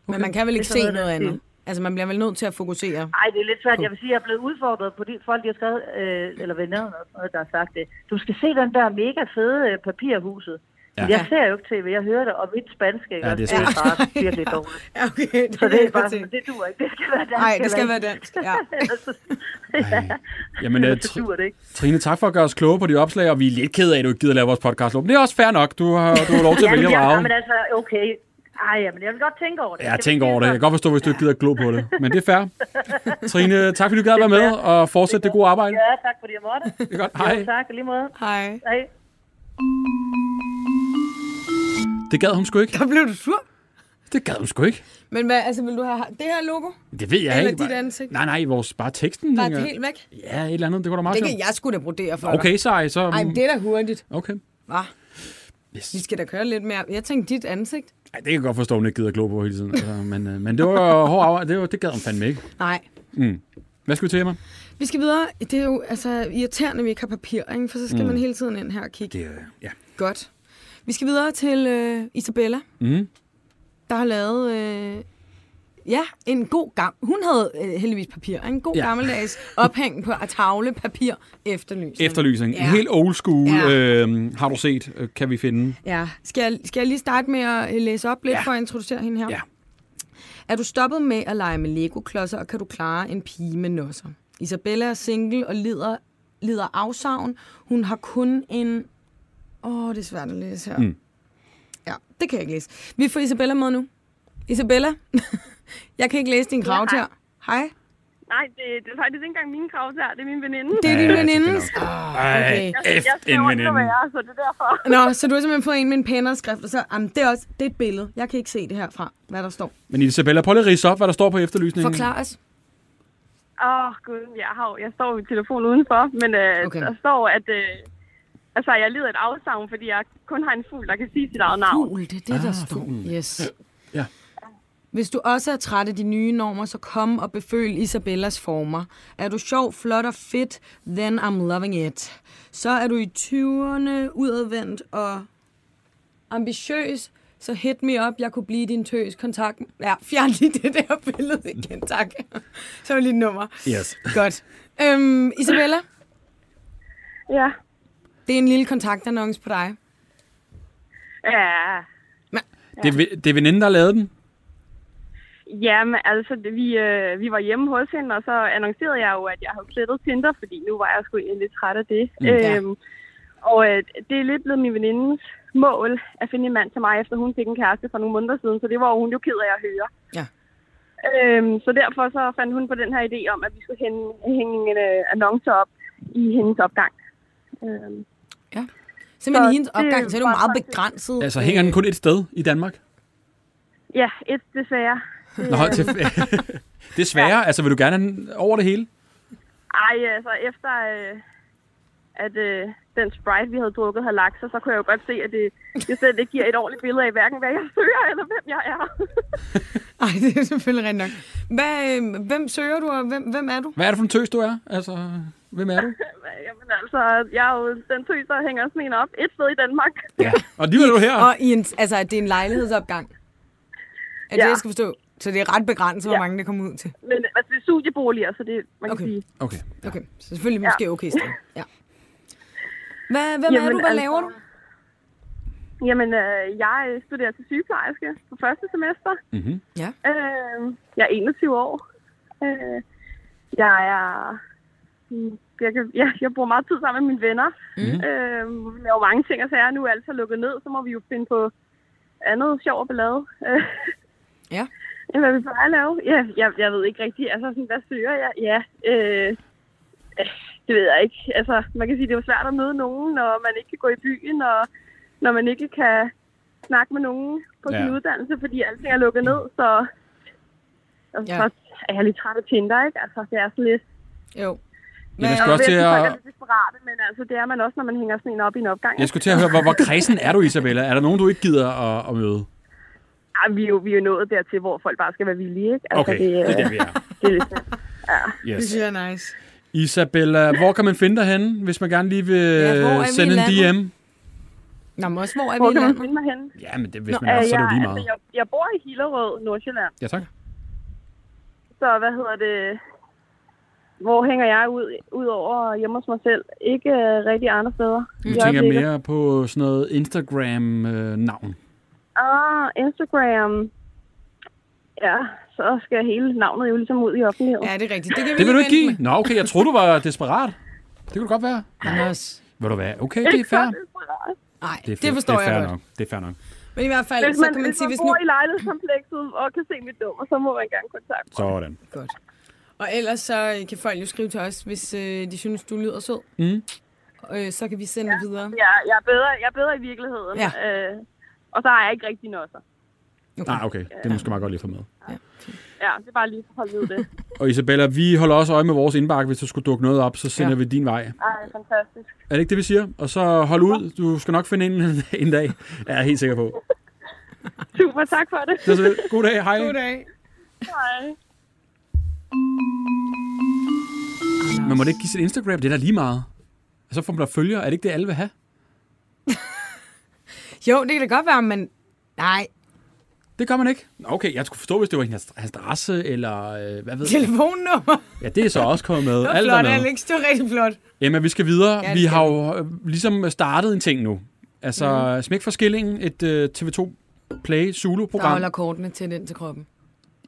S4: Men man kan vel ikke
S7: Det er sådan
S4: se
S7: noget,
S4: noget
S7: der er
S4: andet? Altså, man bliver vel nødt til at fokusere.
S7: Nej, det er lidt svært. Jeg vil sige, at jeg er blevet udfordret på de folk, de har skrevet, øh, eller venner, og sådan noget, der har sagt det. Du skal se den der mega fede øh, papirhuset.
S3: Ja.
S7: Ja. Jeg ser jo ikke tv, jeg hører det, og mit spanske ikke?
S3: Ja, det er
S7: det
S3: svært.
S7: er bare virkelig dårligt.
S4: Ja, okay.
S7: Så det er
S4: kan jeg
S7: bare
S4: godt se.
S7: sådan, det duer ikke. Det skal være dansk.
S4: Nej, det
S7: eller
S4: skal
S7: ikke.
S4: være dansk, ja.
S7: Ellers så- ja.
S3: Jamen, øh,
S7: Ellers så
S3: Tri-
S7: duer det ikke.
S3: Trine, tak for at gøre os kloge på de opslag, og vi er lidt ked af, at du ikke gider lave vores podcast. Men det er også fair nok. Du har, du har lov til at
S7: Ja,
S3: vælge
S7: men,
S3: at
S7: jeg,
S3: vrage.
S7: men altså, okay. Ej, jamen, jeg vil godt tænke over det.
S3: Ja,
S7: Skal vi
S3: tænk
S7: sige
S3: over det. Jeg
S7: sådan?
S3: kan godt forstå, hvis du ikke gider at glo på det. Men det er fair. Trine, tak fordi du gad at være med, og fortsæt det gode arbejde.
S7: Ja, tak fordi jeg måtte.
S3: Det er godt. Hej.
S7: Jo, tak, og lige måde.
S4: Hej.
S7: Hej.
S3: Det gad hun sgu ikke.
S4: Der blev du sur.
S3: Det gad hun sgu ikke.
S4: Men hvad, altså, vil du have det her logo?
S3: Det ved jeg
S4: Eller
S3: ikke.
S4: dit ansigt.
S3: Nej, nej, vores, bare teksten.
S4: Bare
S3: tænker jeg.
S4: helt væk?
S3: Ja, et eller andet. Det kunne da meget
S4: Det
S3: sjovt.
S4: kan jeg sgu da brodere for dig.
S3: Okay, sej, så...
S4: Ej, men det er da hurtigt.
S3: Okay.
S4: Hva?
S3: Yes.
S4: Vi skal da køre lidt mere. Jeg tænkte dit ansigt.
S3: Ej, det kan jeg godt forstå, hun ikke gider at glo på hele tiden. Altså, men, øh, men det var hård arbejde. Det, var, det gad hun fandme ikke.
S4: Nej.
S3: Hvad skal vi til, Emma?
S4: Vi skal videre. Det er jo altså, irriterende, at vi ikke har papir, ikke? for så skal mm. man hele tiden ind her og kigge.
S3: Det, øh, ja.
S4: Godt. Vi skal videre til øh, Isabella,
S3: Mm.
S4: der har lavet... Øh, ja, en god gam. Hun havde øh, heldigvis papir. En god
S3: Ja.
S4: ja. gammeldags ophæng på at tavle papir efterlysning.
S3: Efterlysning.
S4: Ja.
S3: Helt old school.
S4: Ja.
S3: Øh, har du set, øh, kan vi finde.
S4: Ja. Skal, jeg, skal jeg lige starte med at øh, læse op lidt
S3: Ja.
S4: ja. for at introducere hende her?
S3: Ja.
S4: Er du stoppet med at lege med Lego-klodser, og kan du klare en pige med nosser? Isabella er single og lider, lider afsavn. Hun har kun en... Åh, det er svært at læse her. Mm. Ja, det kan jeg ikke læse. Vi får Isabella med nu. Isabella, jeg kan ikke læse din krav her. Hej.
S8: Nej, det, det er faktisk ikke engang mine krav der. Det er min veninde.
S4: Det er
S3: Ja,
S4: din
S3: det er
S4: veninde.
S3: nok.
S4: Ah, okay.
S3: F en veninde.
S8: være, så det er derfor.
S4: Nå, så du har simpelthen fået en med en pænere skrift, og så... Jamen, det er også det er et billede. Jeg kan ikke se det herfra, hvad der står.
S3: Men Isabella, prøv lige at rise op, hvad der står på efterlysningen.
S4: Forklar os.
S8: Åh, oh, gud, jeg, har, jo- jeg står ved telefonen udenfor, men øh,
S4: Okay.
S8: okay. der står, at øh, altså, jeg lider et afsavn, fordi jeg kun har en fugl, der kan sige sit eget navn.
S4: Fugl, det er det, ah, der står. Yes.
S3: Ja.
S4: Hvis du også er træt af de nye normer, så kom og beføl Isabellas former. Er du sjov, flot og fit, then I'm loving it. Så er du i 20'erne udadvendt og ambitiøs, så hit me up, jeg kunne blive din tøs kontakt. Ja, fjern lige det der billede igen, tak. Så er det lige et nummer.
S3: Yes.
S4: Godt. Øhm, Isabella,
S8: Ja.
S4: det er en lille kontaktannonce på dig.
S8: Ja,
S3: Det, er ve- det er veninden, der har lavet den.
S8: Jamen, altså, det- vi, øh, vi var hjemme hos hende, og så annoncerede jeg jo, at jeg havde slettet Tinder, fordi nu var jeg sgu egentlig lidt træt af det. Mm. Øhm, og øh, det er lidt blevet min venindes mål at finde en mand til mig, efter hun fik en kæreste for nogle måneder siden, så det var hun jo ked af at høre.
S4: Ja.
S8: Øhm, så derfor så fandt hun på den her idé om, at vi skulle hænge, hænge en øh, annonce op i hendes opgang. Øhm,
S4: Simpelthen
S8: Så
S4: i hendes
S8: det
S4: opgang, så er det jo
S8: var
S4: meget
S8: faktisk-
S4: begrænset.
S3: Altså, hænger den kun et sted i Danmark?
S8: ja, et desværre.
S3: Nå, til, desværre. Altså, vil du gerne have den over det hele?
S8: Ej, altså efter øh, at øh, den Sprite, vi havde drukket, havde lagt sig, så kunne jeg jo godt se, at det, det slet ikke giver et ordentligt billede af hverken, hvad jeg søger eller hvem jeg er.
S4: Ej, det er selvfølgelig rent nok. Hvad, øh, hvem søger du, og hvem, hvem er du?
S3: Hvad er det for en tøs, du er? Altså, hvem er du?
S8: Jamen altså, jeg er jo den tøs, der hænger sådan en op et sted i Danmark.
S3: Ja. Og lige er du her.
S4: Og i en, altså, at det er en lejlighedsopgang. Er det,
S8: Ja.
S4: jeg skal forstå? Så det er ret begrænset, hvor
S8: Ja.
S4: mange det kommer ud til.
S8: Men altså, det er studieboliger, så det man kan
S4: Okay.
S8: okay. sige.
S3: Okay.
S4: Okay, så selvfølgelig måske okay sted. Ja. Hvad, hvem er
S8: Jamen,
S4: du? Hvad
S8: altså-
S4: laver du?
S8: Jamen, øh, jeg øh, studerer til sygeplejerske på første semester.
S3: Mhm.
S4: Ja.
S8: Øh, jeg er 21 år. Øh, jeg er... mm, Jeg, kan, jeg, jeg bruger meget tid sammen med mine venner.
S3: Mhm.
S8: Mm. Øh, vi laver mange ting og sager. Nu er alt så lukket ned, så må vi jo finde på andet sjov og ballade. Øh,
S4: Ja.
S8: end hvad vi plejer at lave. Ja, jeg, jeg ved ikke rigtigt. Altså, sådan, hvad søger jeg? Ja, øh, øh, det ved jeg ikke. Altså, man kan sige, det er jo svært at møde nogen, når man ikke kan gå i byen, og når man ikke kan snakke med nogen på
S3: Ja.
S8: sin uddannelse, fordi alting er lukket ned, så, altså,
S4: Ja.
S8: ja. så er jeg lidt træt af Tinder, ikke? Altså, det er sådan lidt...
S4: Jo.
S3: Jamen, jeg
S4: Hvad-
S3: skal også til
S8: Jeg ved, folk
S3: at...
S8: er lidt desperate, men altså, det er man også, når man hænger sådan en op i en opgang.
S3: Jeg skulle til at høre, hvor, hvor kredsen er du, Isabella? Er der nogen, du ikke gider at, at møde?
S8: Ej, vi, er jo, vi er jo nået dertil, hvor folk bare skal være villige, ikke? Altså,
S3: Okay, det er
S8: det,
S3: der,
S8: øh,
S3: vi er.
S8: det er lidt svært.
S4: Det
S3: Yes.
S4: synes jeg er nice.
S3: Isabella, hvor kan man finde dig henne, hvis man gerne lige vil
S4: Ja, hvor er vi i
S3: sende en
S4: landet?
S3: DM?
S4: Nå, men også, hvor er
S8: Hvor
S4: vi i
S8: kan man
S4: landet?
S8: finde mig henne?
S3: Ja, men det, hvis
S4: Nå,
S3: man er, så er det
S8: jeg,
S3: jo lige
S8: altså,
S3: meget.
S8: jeg, jeg bor i Hillerød, Nordsjælland.
S3: Ja,
S4: Mm.
S3: tak.
S8: Så hvad hedder det? Hvor hænger jeg ud, ud over hjemme hos mig selv? Ikke øh, rigtig andre steder.
S3: Nu tænker jeg mere på sådan noget Instagram-navn.
S8: Ah, Instagram. Ja, så skal hele navnet jo ligesom ud i offentligheden.
S4: Ja, det er rigtigt. Det, kan vi
S3: Det vil du
S4: lige
S3: ikke give?
S4: vente
S3: Nå, okay, jeg troede, du var desperat. Det kunne det godt være.
S4: med. Anders.
S3: Vil du være? Okay, det er fair.
S4: Nej,
S3: Det, er
S4: det forstår
S3: det er fair
S4: jeg godt.
S3: Nok. Det er fair nok.
S4: Men i hvert fald,
S8: Hvis
S4: så
S8: man,
S4: kan man
S8: hvis
S4: sige,
S8: man
S4: hvis nu...
S8: bor i lejlighedskomplekset og kan se mit nummer, så må man gerne kontakte mig.
S3: Sådan.
S4: Godt. Og ellers så øh, kan folk jo skrive til os, hvis øh, de synes, du lyder sød.
S3: Mm.
S4: Øh, så kan vi sende ja. det videre.
S8: Ja, jeg er bedre, jeg er bedre i virkeligheden.
S4: Ja.
S8: Øh, og så er jeg ikke rigtig nosser.
S3: Nej, Ah, okay. Det er måske meget godt lige at få med.
S8: Ja, det er bare lige for at holde ud det.
S3: Og Isabella, vi holder også øje med vores indbakke. Hvis der skulle dukke noget op, så sender
S4: Ja.
S3: ja. vi din vej.
S8: Ej, fantastisk.
S3: Er det ikke det, vi siger? Og så hold ud. Du skal nok finde en, en dag. Ja, jeg er helt sikker på.
S8: Super, tak for det.
S3: Det er så lidt. God dag. Hej.
S4: Goddag.
S8: Hej.
S3: Man må da ikke give sit Instagram. Det er da lige meget. Og så får man da følgere. Er det ikke det, alle vil have?
S4: Jo, det kan da godt være, men... Nej,
S3: Det gør man ikke. Nå, Okay, jeg skulle forstå, hvis det var hendes hans adresse, eller øh, hvad ved jeg.
S4: telefonnummer.
S3: Ja, det er så også kommet med.
S4: Det var
S3: Alt er
S4: flot,
S3: med.
S4: Alex. Det var rigtig flot.
S3: Jamen, vi skal videre.
S4: Ja,
S3: Ja,
S4: det
S3: vi
S4: skal
S3: har jo øh, ligesom startet en ting nu. Altså,
S4: Mhm.
S3: mm. Smæk for skillingen, et øh, TV2 Play
S4: Der
S3: Zulu-program.
S4: holder kortene tæt ind til kroppen.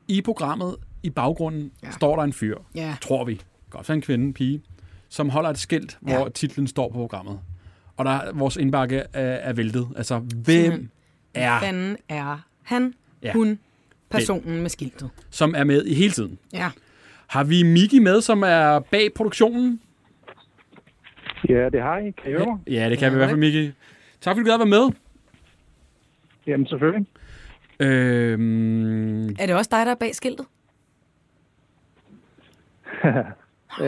S3: I programmet, i baggrunden, ja. står der en fyr,
S4: Ja.
S3: tror vi. Godt for en kvinde, en pige, som holder et skilt,
S4: Ja.
S3: hvor titlen står på programmet. Og der, vores indbakke er, er væltet. Altså, hvem er,
S4: Fanden er han, ja.
S3: Ah. Ja.
S4: hun, personen med skiltet.
S3: som er med i hele tiden?
S4: Ja.
S3: Har vi Miki med, som er bag produktionen?
S6: Ja, det har I. Kan I høre mig?
S3: Ja, det kan vi i hvert fald, Miki. Tak fordi du gad at være med.
S6: Jamen, selvfølgelig.
S3: Øhm,
S4: Er det også dig, der er bag skiltet?
S6: Øh,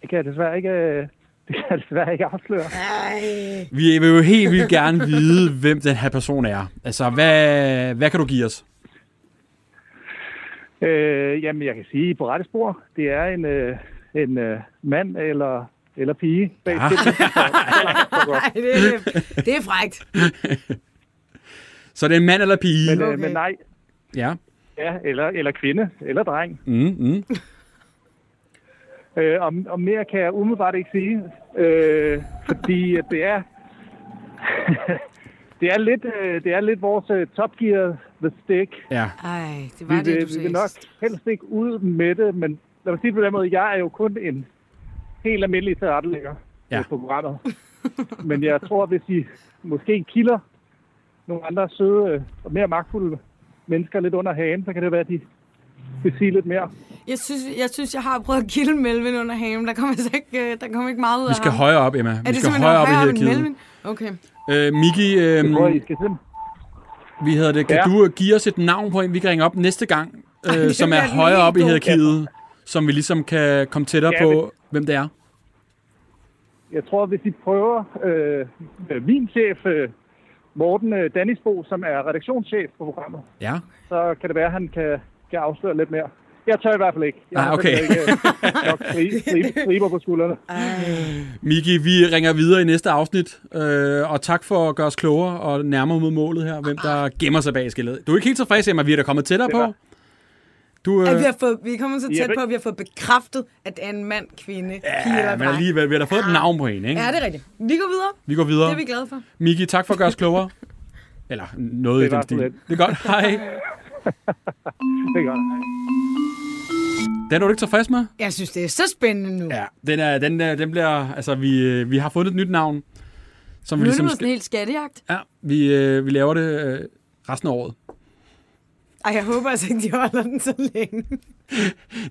S6: det kan jeg desværre ikke, øh, det kan jeg desværre ikke afsløre.
S3: Vi vil jo helt vildt gerne vide, hvem den her person er. Altså, hvad, hvad kan du give os?
S6: Øh, jamen, jeg kan sige, I er på rette spor. Det er en, øh, en øh, mand eller, eller pige. Bag
S3: Ah.
S6: skiltet.
S4: Nej, det er, det er frækt. så
S3: Så det er en mand eller pige?
S6: Men,
S4: Okay.
S6: øh, men nej,
S3: Ja.
S6: ja, eller, eller kvinde, eller dreng.
S3: Mm, mm.
S6: Øh, og, og mere kan jeg umiddelbart ikke sige, øh, fordi at det er... det, er lidt, øh, det er lidt vores øh, Top Gear The Stick.
S3: Ja.
S4: Ej, det
S6: Vi
S4: var det,
S6: vil,
S4: du
S6: vi
S4: sagde.
S6: vil nok helst ikke ud med det, men lad mig sige det på den måde, jeg er jo kun en helt almindelig tilrettelægger
S3: Ja.
S6: ja. på programmet. men jeg tror, hvis I måske kilder nogle andre søde øh, og mere magtfulde mennesker lidt under hagen, så kan det være, at de vil sige lidt mere.
S4: Jeg synes, jeg synes, jeg har prøvet at kilde Melvin under hagen. Der kommer altså ikke, øh, der kommer ikke meget ud
S3: Vi
S4: af
S3: skal
S4: ham.
S3: højere op, Emma.
S4: er
S3: Vi
S4: det
S3: skal
S4: simpelthen
S3: højere op i
S4: højere end
S3: hierarkiet.
S4: Melvin? Okay.
S3: Øh, Miki, øh,
S6: Jeg tror, I skal simpelthen
S3: vi hedder det. Kan
S6: Ja.
S3: du øh, give os et navn på en, vi kan ringe op næste gang, øh,
S4: det
S3: som
S4: bliver
S3: er
S4: den
S3: højere
S4: helt
S3: op i
S4: gode.
S3: hierarkiet, som vi ligesom kan komme tættere
S6: Ja,
S3: på, hvem det er?
S6: Jeg tror, hvis I prøver øh, øh, min chef, øh, Morten øh, Dannisbo, som er redaktionschef på programmet,
S3: Ja.
S6: så kan det være, at han kan, kan Øh, afsløre lidt mere. Jeg tør i hvert fald ikke. Jeg
S3: Ah,
S6: har
S3: okay.
S6: simpelthen ikke øh, nok stri- stri- striber på skuldrene.
S3: Miki, vi ringer videre i næste afsnit, øh, og tak for at gøre os klogere og nærmere mod målet her, hvem der gemmer sig bag skillet. Du er ikke helt tilfreds, Emma, vi er da kommet tættere
S6: Det er
S3: på. Du,
S4: At
S3: øh,
S4: vi, har fået, vi er kommet så
S6: Ja,
S4: tæt
S6: men-
S4: på, at vi har fået bekræftet, at det er en mand, kvinde, pige eller
S3: Ja, men
S4: dreng.
S3: alligevel, vi har da fået et navn på en, ikke?
S4: Ja, det er rigtigt. Vi går videre.
S3: Vi går
S4: Det
S3: videre.
S4: er vi glade for.
S3: Miki, tak for at gøre os klogere. Eller noget i
S6: Det var
S3: den
S6: så
S3: stil.
S6: lidt.
S3: Det er godt, hej.
S6: Det gør jeg.
S3: Den er du ikke tilfreds med?
S4: Jeg synes, det er så spændende nu.
S3: Ja, den, er, den, er, den bliver... Altså, vi, øh, vi har fundet et nyt navn, som
S4: Nu
S3: vi
S4: er det
S3: ligesom
S4: blevet sådan
S3: skal...
S4: en helt skattejagt.
S3: Ja, vi, øh, vi laver det øh, resten af året.
S4: Ej, jeg håber altså ikke, de holder den så længe.
S3: Det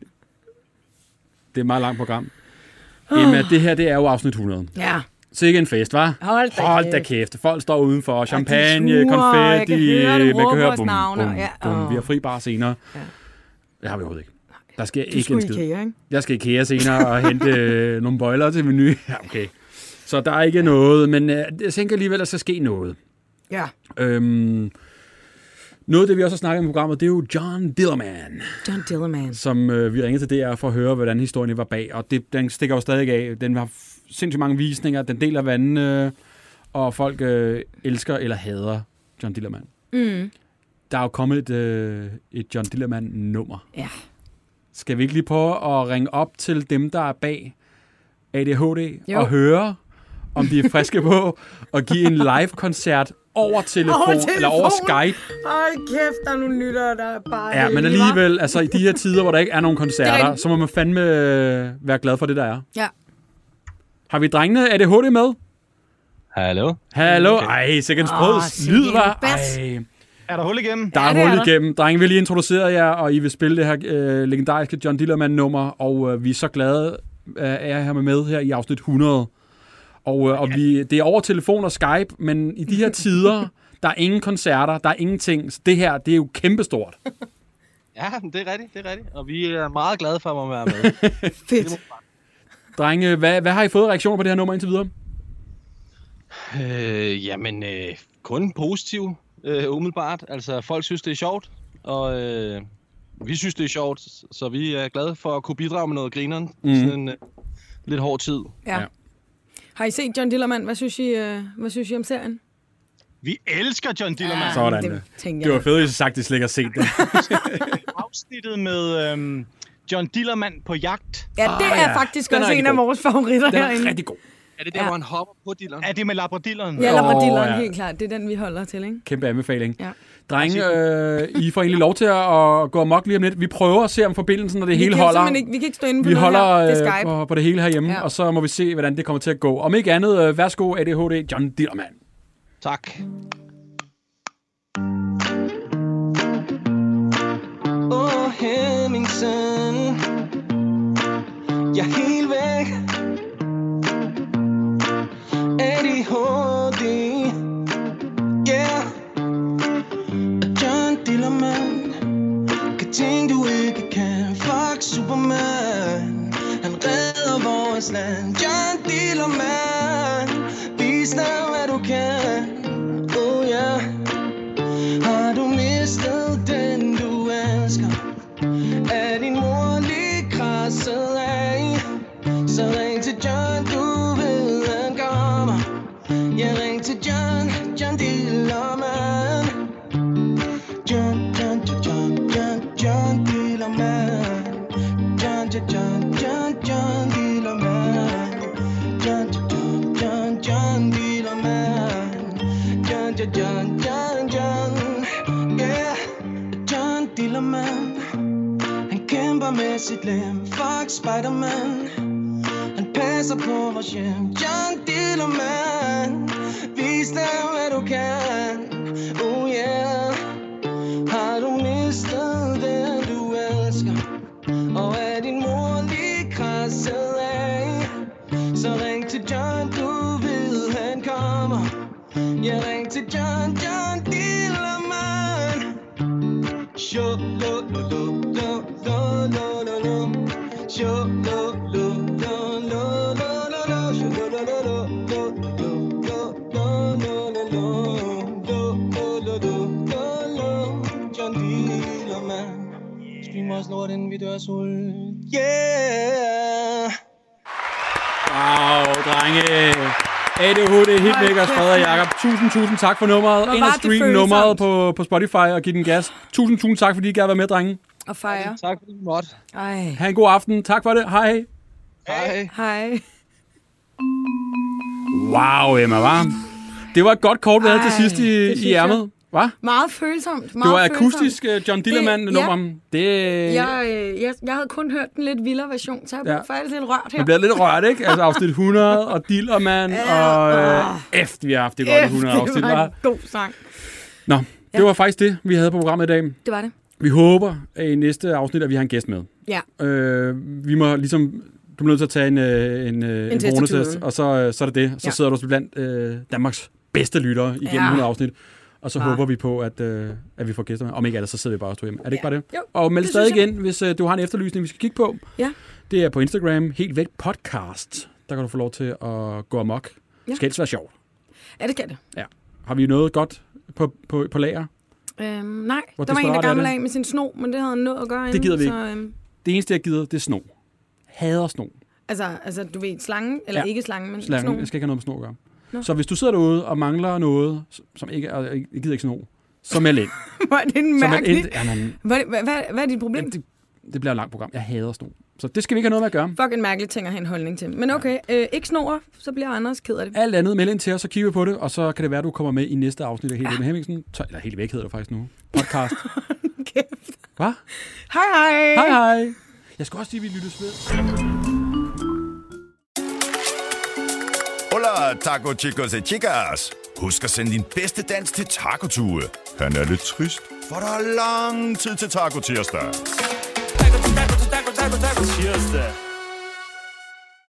S3: er et meget langt program. Emma, det her, det er jo afsnit 100.
S4: Ja.
S3: Sikke en fest, var?
S4: Hold da
S3: Hold da
S4: kæft.
S3: kæft. Folk står udenfor. Champagne,
S4: de
S3: ja,
S4: sure, jeg
S3: konfetti.
S4: kan høre dem
S3: man
S4: råbe
S3: kan høre,
S4: vores
S3: bum,
S4: navne,
S3: bum,
S4: ja,
S3: bum.
S4: åh.
S3: Vi har fri bar senere.
S4: Ja.
S3: Det har vi overhovedet ikke. Der sker
S4: Du
S3: ikke en
S4: skulle
S3: skid.
S4: IKEA, ikke?
S3: Jeg skal i IKEA senere og hente øh, nogle bøjler til menu. Ja, okay. Så der er ikke noget, men øh, jeg tænker alligevel, at der skal ske noget.
S4: Ja.
S3: Øhm, noget af det, vi også har snakket om i programmet, det er jo John Dillerman,
S4: John Dillerman.
S3: som øh, vi ringede til DR for at høre, hvordan historien var bag. Og det, den stikker jo stadig af. Den har f- sindssygt mange visninger, den deler vandene, øh, og folk øh, elsker eller hader John Dillerman.
S4: Mm.
S3: Der er jo kommet et, øh, et John Dillerman-nummer.
S4: Ja.
S3: Skal vi ikke lige prøve at ringe op til dem, der er bag ADHD
S4: Jo.
S3: jo. og høre, om de er friske på og give en live-koncert over telefon,
S4: Over telefon.
S3: eller over Skype?
S4: Hold kæft, der er nogle lyttere, der er bare...
S3: Ja, men
S4: heldige, hva'?
S3: alligevel, altså i de her tider, hvor der ikke er nogen
S4: Det er
S3: koncerter,
S4: rigtigt.
S3: så må man fandme øh, være glad for det, der er.
S4: Ja.
S3: Har vi drengene ADHD med?
S9: Hallo?
S3: Hallo? Ej, sikkert en sprød
S4: Åh,
S3: oh, lyd,
S4: sikkert
S3: var.
S4: Ah, en
S3: Ej,
S4: bas.
S9: Er der hul igennem?
S3: der
S4: Ja,
S3: er
S4: det
S3: ja,
S4: er
S3: hul
S4: der.
S3: igennem. Drenge, vi har lige introduceret jer, og I vil spille det her øh, legendariske John Dillermand-nummer, og øh, vi er så glade øh, af at have med med her i afsnit 100. Og, øh, og vi, det er over telefon og Skype, men i de her tider, der er ingen koncerter, der er ingenting. Så det her, det er jo kæmpestort.
S9: Ja, men det er rigtigt, det er rigtigt. Og vi er meget glade for at måtte være med.
S4: Fedt.
S3: Drenge, hvad, hvad har I fået af reaktioner på det her nummer indtil videre?
S9: øh, jamen, øh, kun positiv, øh, umiddelbart. Altså, folk synes, det er sjovt, og øh, vi synes, det er sjovt, så vi er glade for at kunne bidrage med noget grineren. Mm. Sådan en øh, lidt hård tid.
S4: Ja.
S3: Ja.
S4: Har I set John Dillermand? Hvad synes I, øh, hvad synes I om serien?
S9: Vi elsker John Dillermand.
S3: Sådan der.
S4: det tænker
S3: Det var
S4: jeg.
S3: fedt, at I så sagt, at I slet ikke har set det.
S9: Afsnittet med øhm, John Dillermand på jagt.
S4: Ja, det
S3: Ah,
S4: er
S3: ja.
S4: faktisk
S3: Den er
S4: også en
S3: rigtig
S4: af
S3: god.
S4: vores favoritter
S3: Den er
S4: herinde.
S3: rigtig god.
S9: Er det der,
S4: Ja.
S9: ja. hvor han hopper på dilleren?
S2: Er det med labradilleren?
S4: Ja, Labradilleren,
S3: Åh, ja.
S4: helt klart. Det er den, vi holder til, ikke?
S3: Kæmpe anbefaling.
S4: Ja.
S3: Drenge, øh, I får egentlig lov til at at gå amok lige om lidt. Vi prøver at se, om forbindelsen og det hele
S4: vi kan jo
S3: holder.
S4: simpelthen Ikke, vi kan ikke stå inde på
S3: Vi
S4: noget
S3: holder
S4: her. Det er
S3: øh,
S4: Skype.
S3: på, på det hele herhjemme,
S4: Ja.
S3: ja. og så må vi se, hvordan det kommer til at gå. Om ikke andet, øh, værsgo ADHD John Dillermand.
S9: Tak. Åh, oh, Hemmingsen Jeg er helt væk ADHD Yeah John Dillermand Kan ting du ikke kan Fuck Superman Han redder vores land John Dillermand Vis dig hvad du kan Oh yeah Har du mistet den du elsker Er din mor lige krasset af Så ring til John du ved han kommer Ja ring til John John Dillermand John, John, John, John, John, John Dillermand. John, John, John, John, John Dillermand. John, John, John, John, John Dillermand. John, John, John, John, John. Yeah, John Dillermand. Han kæmper med sit lem. Fuck Spider-Man. Han passer på vores hjem John Dillermand Vis dig hvad du kan Oh yeah Har du mistet det du elsker Og er din mor lige krasset af Så ring til John du ved han kommer Ja ring til John John Dillermand Sho lo lo lo lo lo lo lo lo. Sho lo lo lo lo lo lo lo. Sho lo lo lo lo lo lo lo lo lo lo. Lo lo lo lo lo lo. John Dillermand. Spil mig også lort inden vi dør af sult. Yeah!
S3: Wow, drenge. ADHD, Hitmakers, Frederik og Jakob. Tusind, tusind tak for nummeret.
S4: Hvor
S3: Ind og
S4: var det
S3: stream
S4: følsomt.
S3: nummeret på, på Spotify og giv den gas. Tusind, tusind tak, fordi I gad være med, drenge.
S4: Og fejre.
S9: Tak fordi du måtte.
S4: Ej,
S3: Ha' en god aften. Tak for det. Hej.
S9: Hej.
S4: hej.
S3: Wow, Emma, var. Det var et godt kort, vi havde til
S4: Ej,
S3: sidst i,
S4: det synes
S3: i ærmet. Hva?
S4: Meget følsomt.
S3: Det
S4: Meget
S3: var
S4: følsomt.
S3: akustisk øh, John Dillermand-nummer. Det,
S4: Jeg, øh, jeg, jeg havde kun hørt den lidt vildere version, så jeg
S3: Ja.
S4: blev faktisk lidt rørt her.
S3: Man bliver lidt rørt, ikke? Altså afsnit 100 og Dillermand, og øh, efter vi har haft det godt 100 afsnit,
S4: Ah. det var
S3: var.
S4: en god sang.
S3: Nå, det var faktisk det, vi havde på programmet i dag.
S4: Det var det.
S3: Vi håber at i næste afsnit, at vi har en gæst med.
S4: Ja.
S3: Øh, vi må ligesom... Du bliver nødt til at tage en, øh, en, øh, en
S4: test i
S3: coronatest,
S4: kluden.
S3: og så, øh, så er det det. Så
S4: Ja.
S3: ja. sidder du også blandt øh, Danmarks bedste lyttere igennem
S4: Ja.
S3: ja. 100 afsnit. Og så
S4: Ja.
S3: ja. håber vi på, at, øh, at vi får gæster med. Om ikke andet, så sidder vi bare og står hjemme. Er det ikke
S4: Ja.
S3: bare det?
S4: Jo,
S3: og meld
S4: det
S3: stadig
S4: synes jeg.
S3: igen, hvis øh, du har en efterlysning, vi skal kigge på.
S4: Ja.
S3: Det er på Instagram, helt væk podcast. Der kan du få lov til at gå amok.
S4: Ja.
S3: Ja. Skal helst være sjovt.
S4: Ja, det kan det.
S3: Har vi noget godt på, på, på lager?
S4: Øhm, nej,
S3: Hvor
S4: der var en, der
S3: desperat er
S4: gammel
S3: det?
S4: af med sin sno, men det havde han nået at gøre
S3: Det gider vi
S4: inden, Så, øhm,
S3: Det eneste, jeg gider, det er sno. Hader sno.
S4: altså, altså, du ved, slangen, eller ja.
S3: Ja.
S4: ikke slangen, men
S3: Slangen.
S4: snoen.
S3: Jeg skal ikke have noget med sno at gøre.
S4: Nå.
S3: Så hvis du sidder derude og mangler noget, som ikke, og jeg gider ikke sno, så meld ind.
S4: Hvor er det en
S3: Så meld
S4: mærkelig...
S3: ind. Jamen,
S4: Hvad, hvad, hvad, hvad er dit problem?
S3: jamen, det, det bliver et langt program. Jeg hader sno. Så det skal vi ikke have noget med at gøre.
S4: Fucking mærkelige ting at have en holdning til. Men okay, øh, ikke snor, så bliver Anders ked af det.
S3: Alt andet, meld ind til os, så kigger vi på det, og så kan det være, at du kommer med i næste afsnit af Helt ja. med Hemmingsen. Så- Eller Helt Væk hedder det faktisk nu. Podcast.
S4: Kæft.
S3: Hvad?
S4: Hej hej!
S3: Hej hej! Jeg skal også sige, at vi lyttes ved.
S1: Hola, taco chicos e chicas. Husk at sende din bedste dans til Taco Tue. Han er lidt trist, for der er lang tid til Taco Tirsdag.
S2: Taco, taco, taco, taco, taco, taco tirsdag.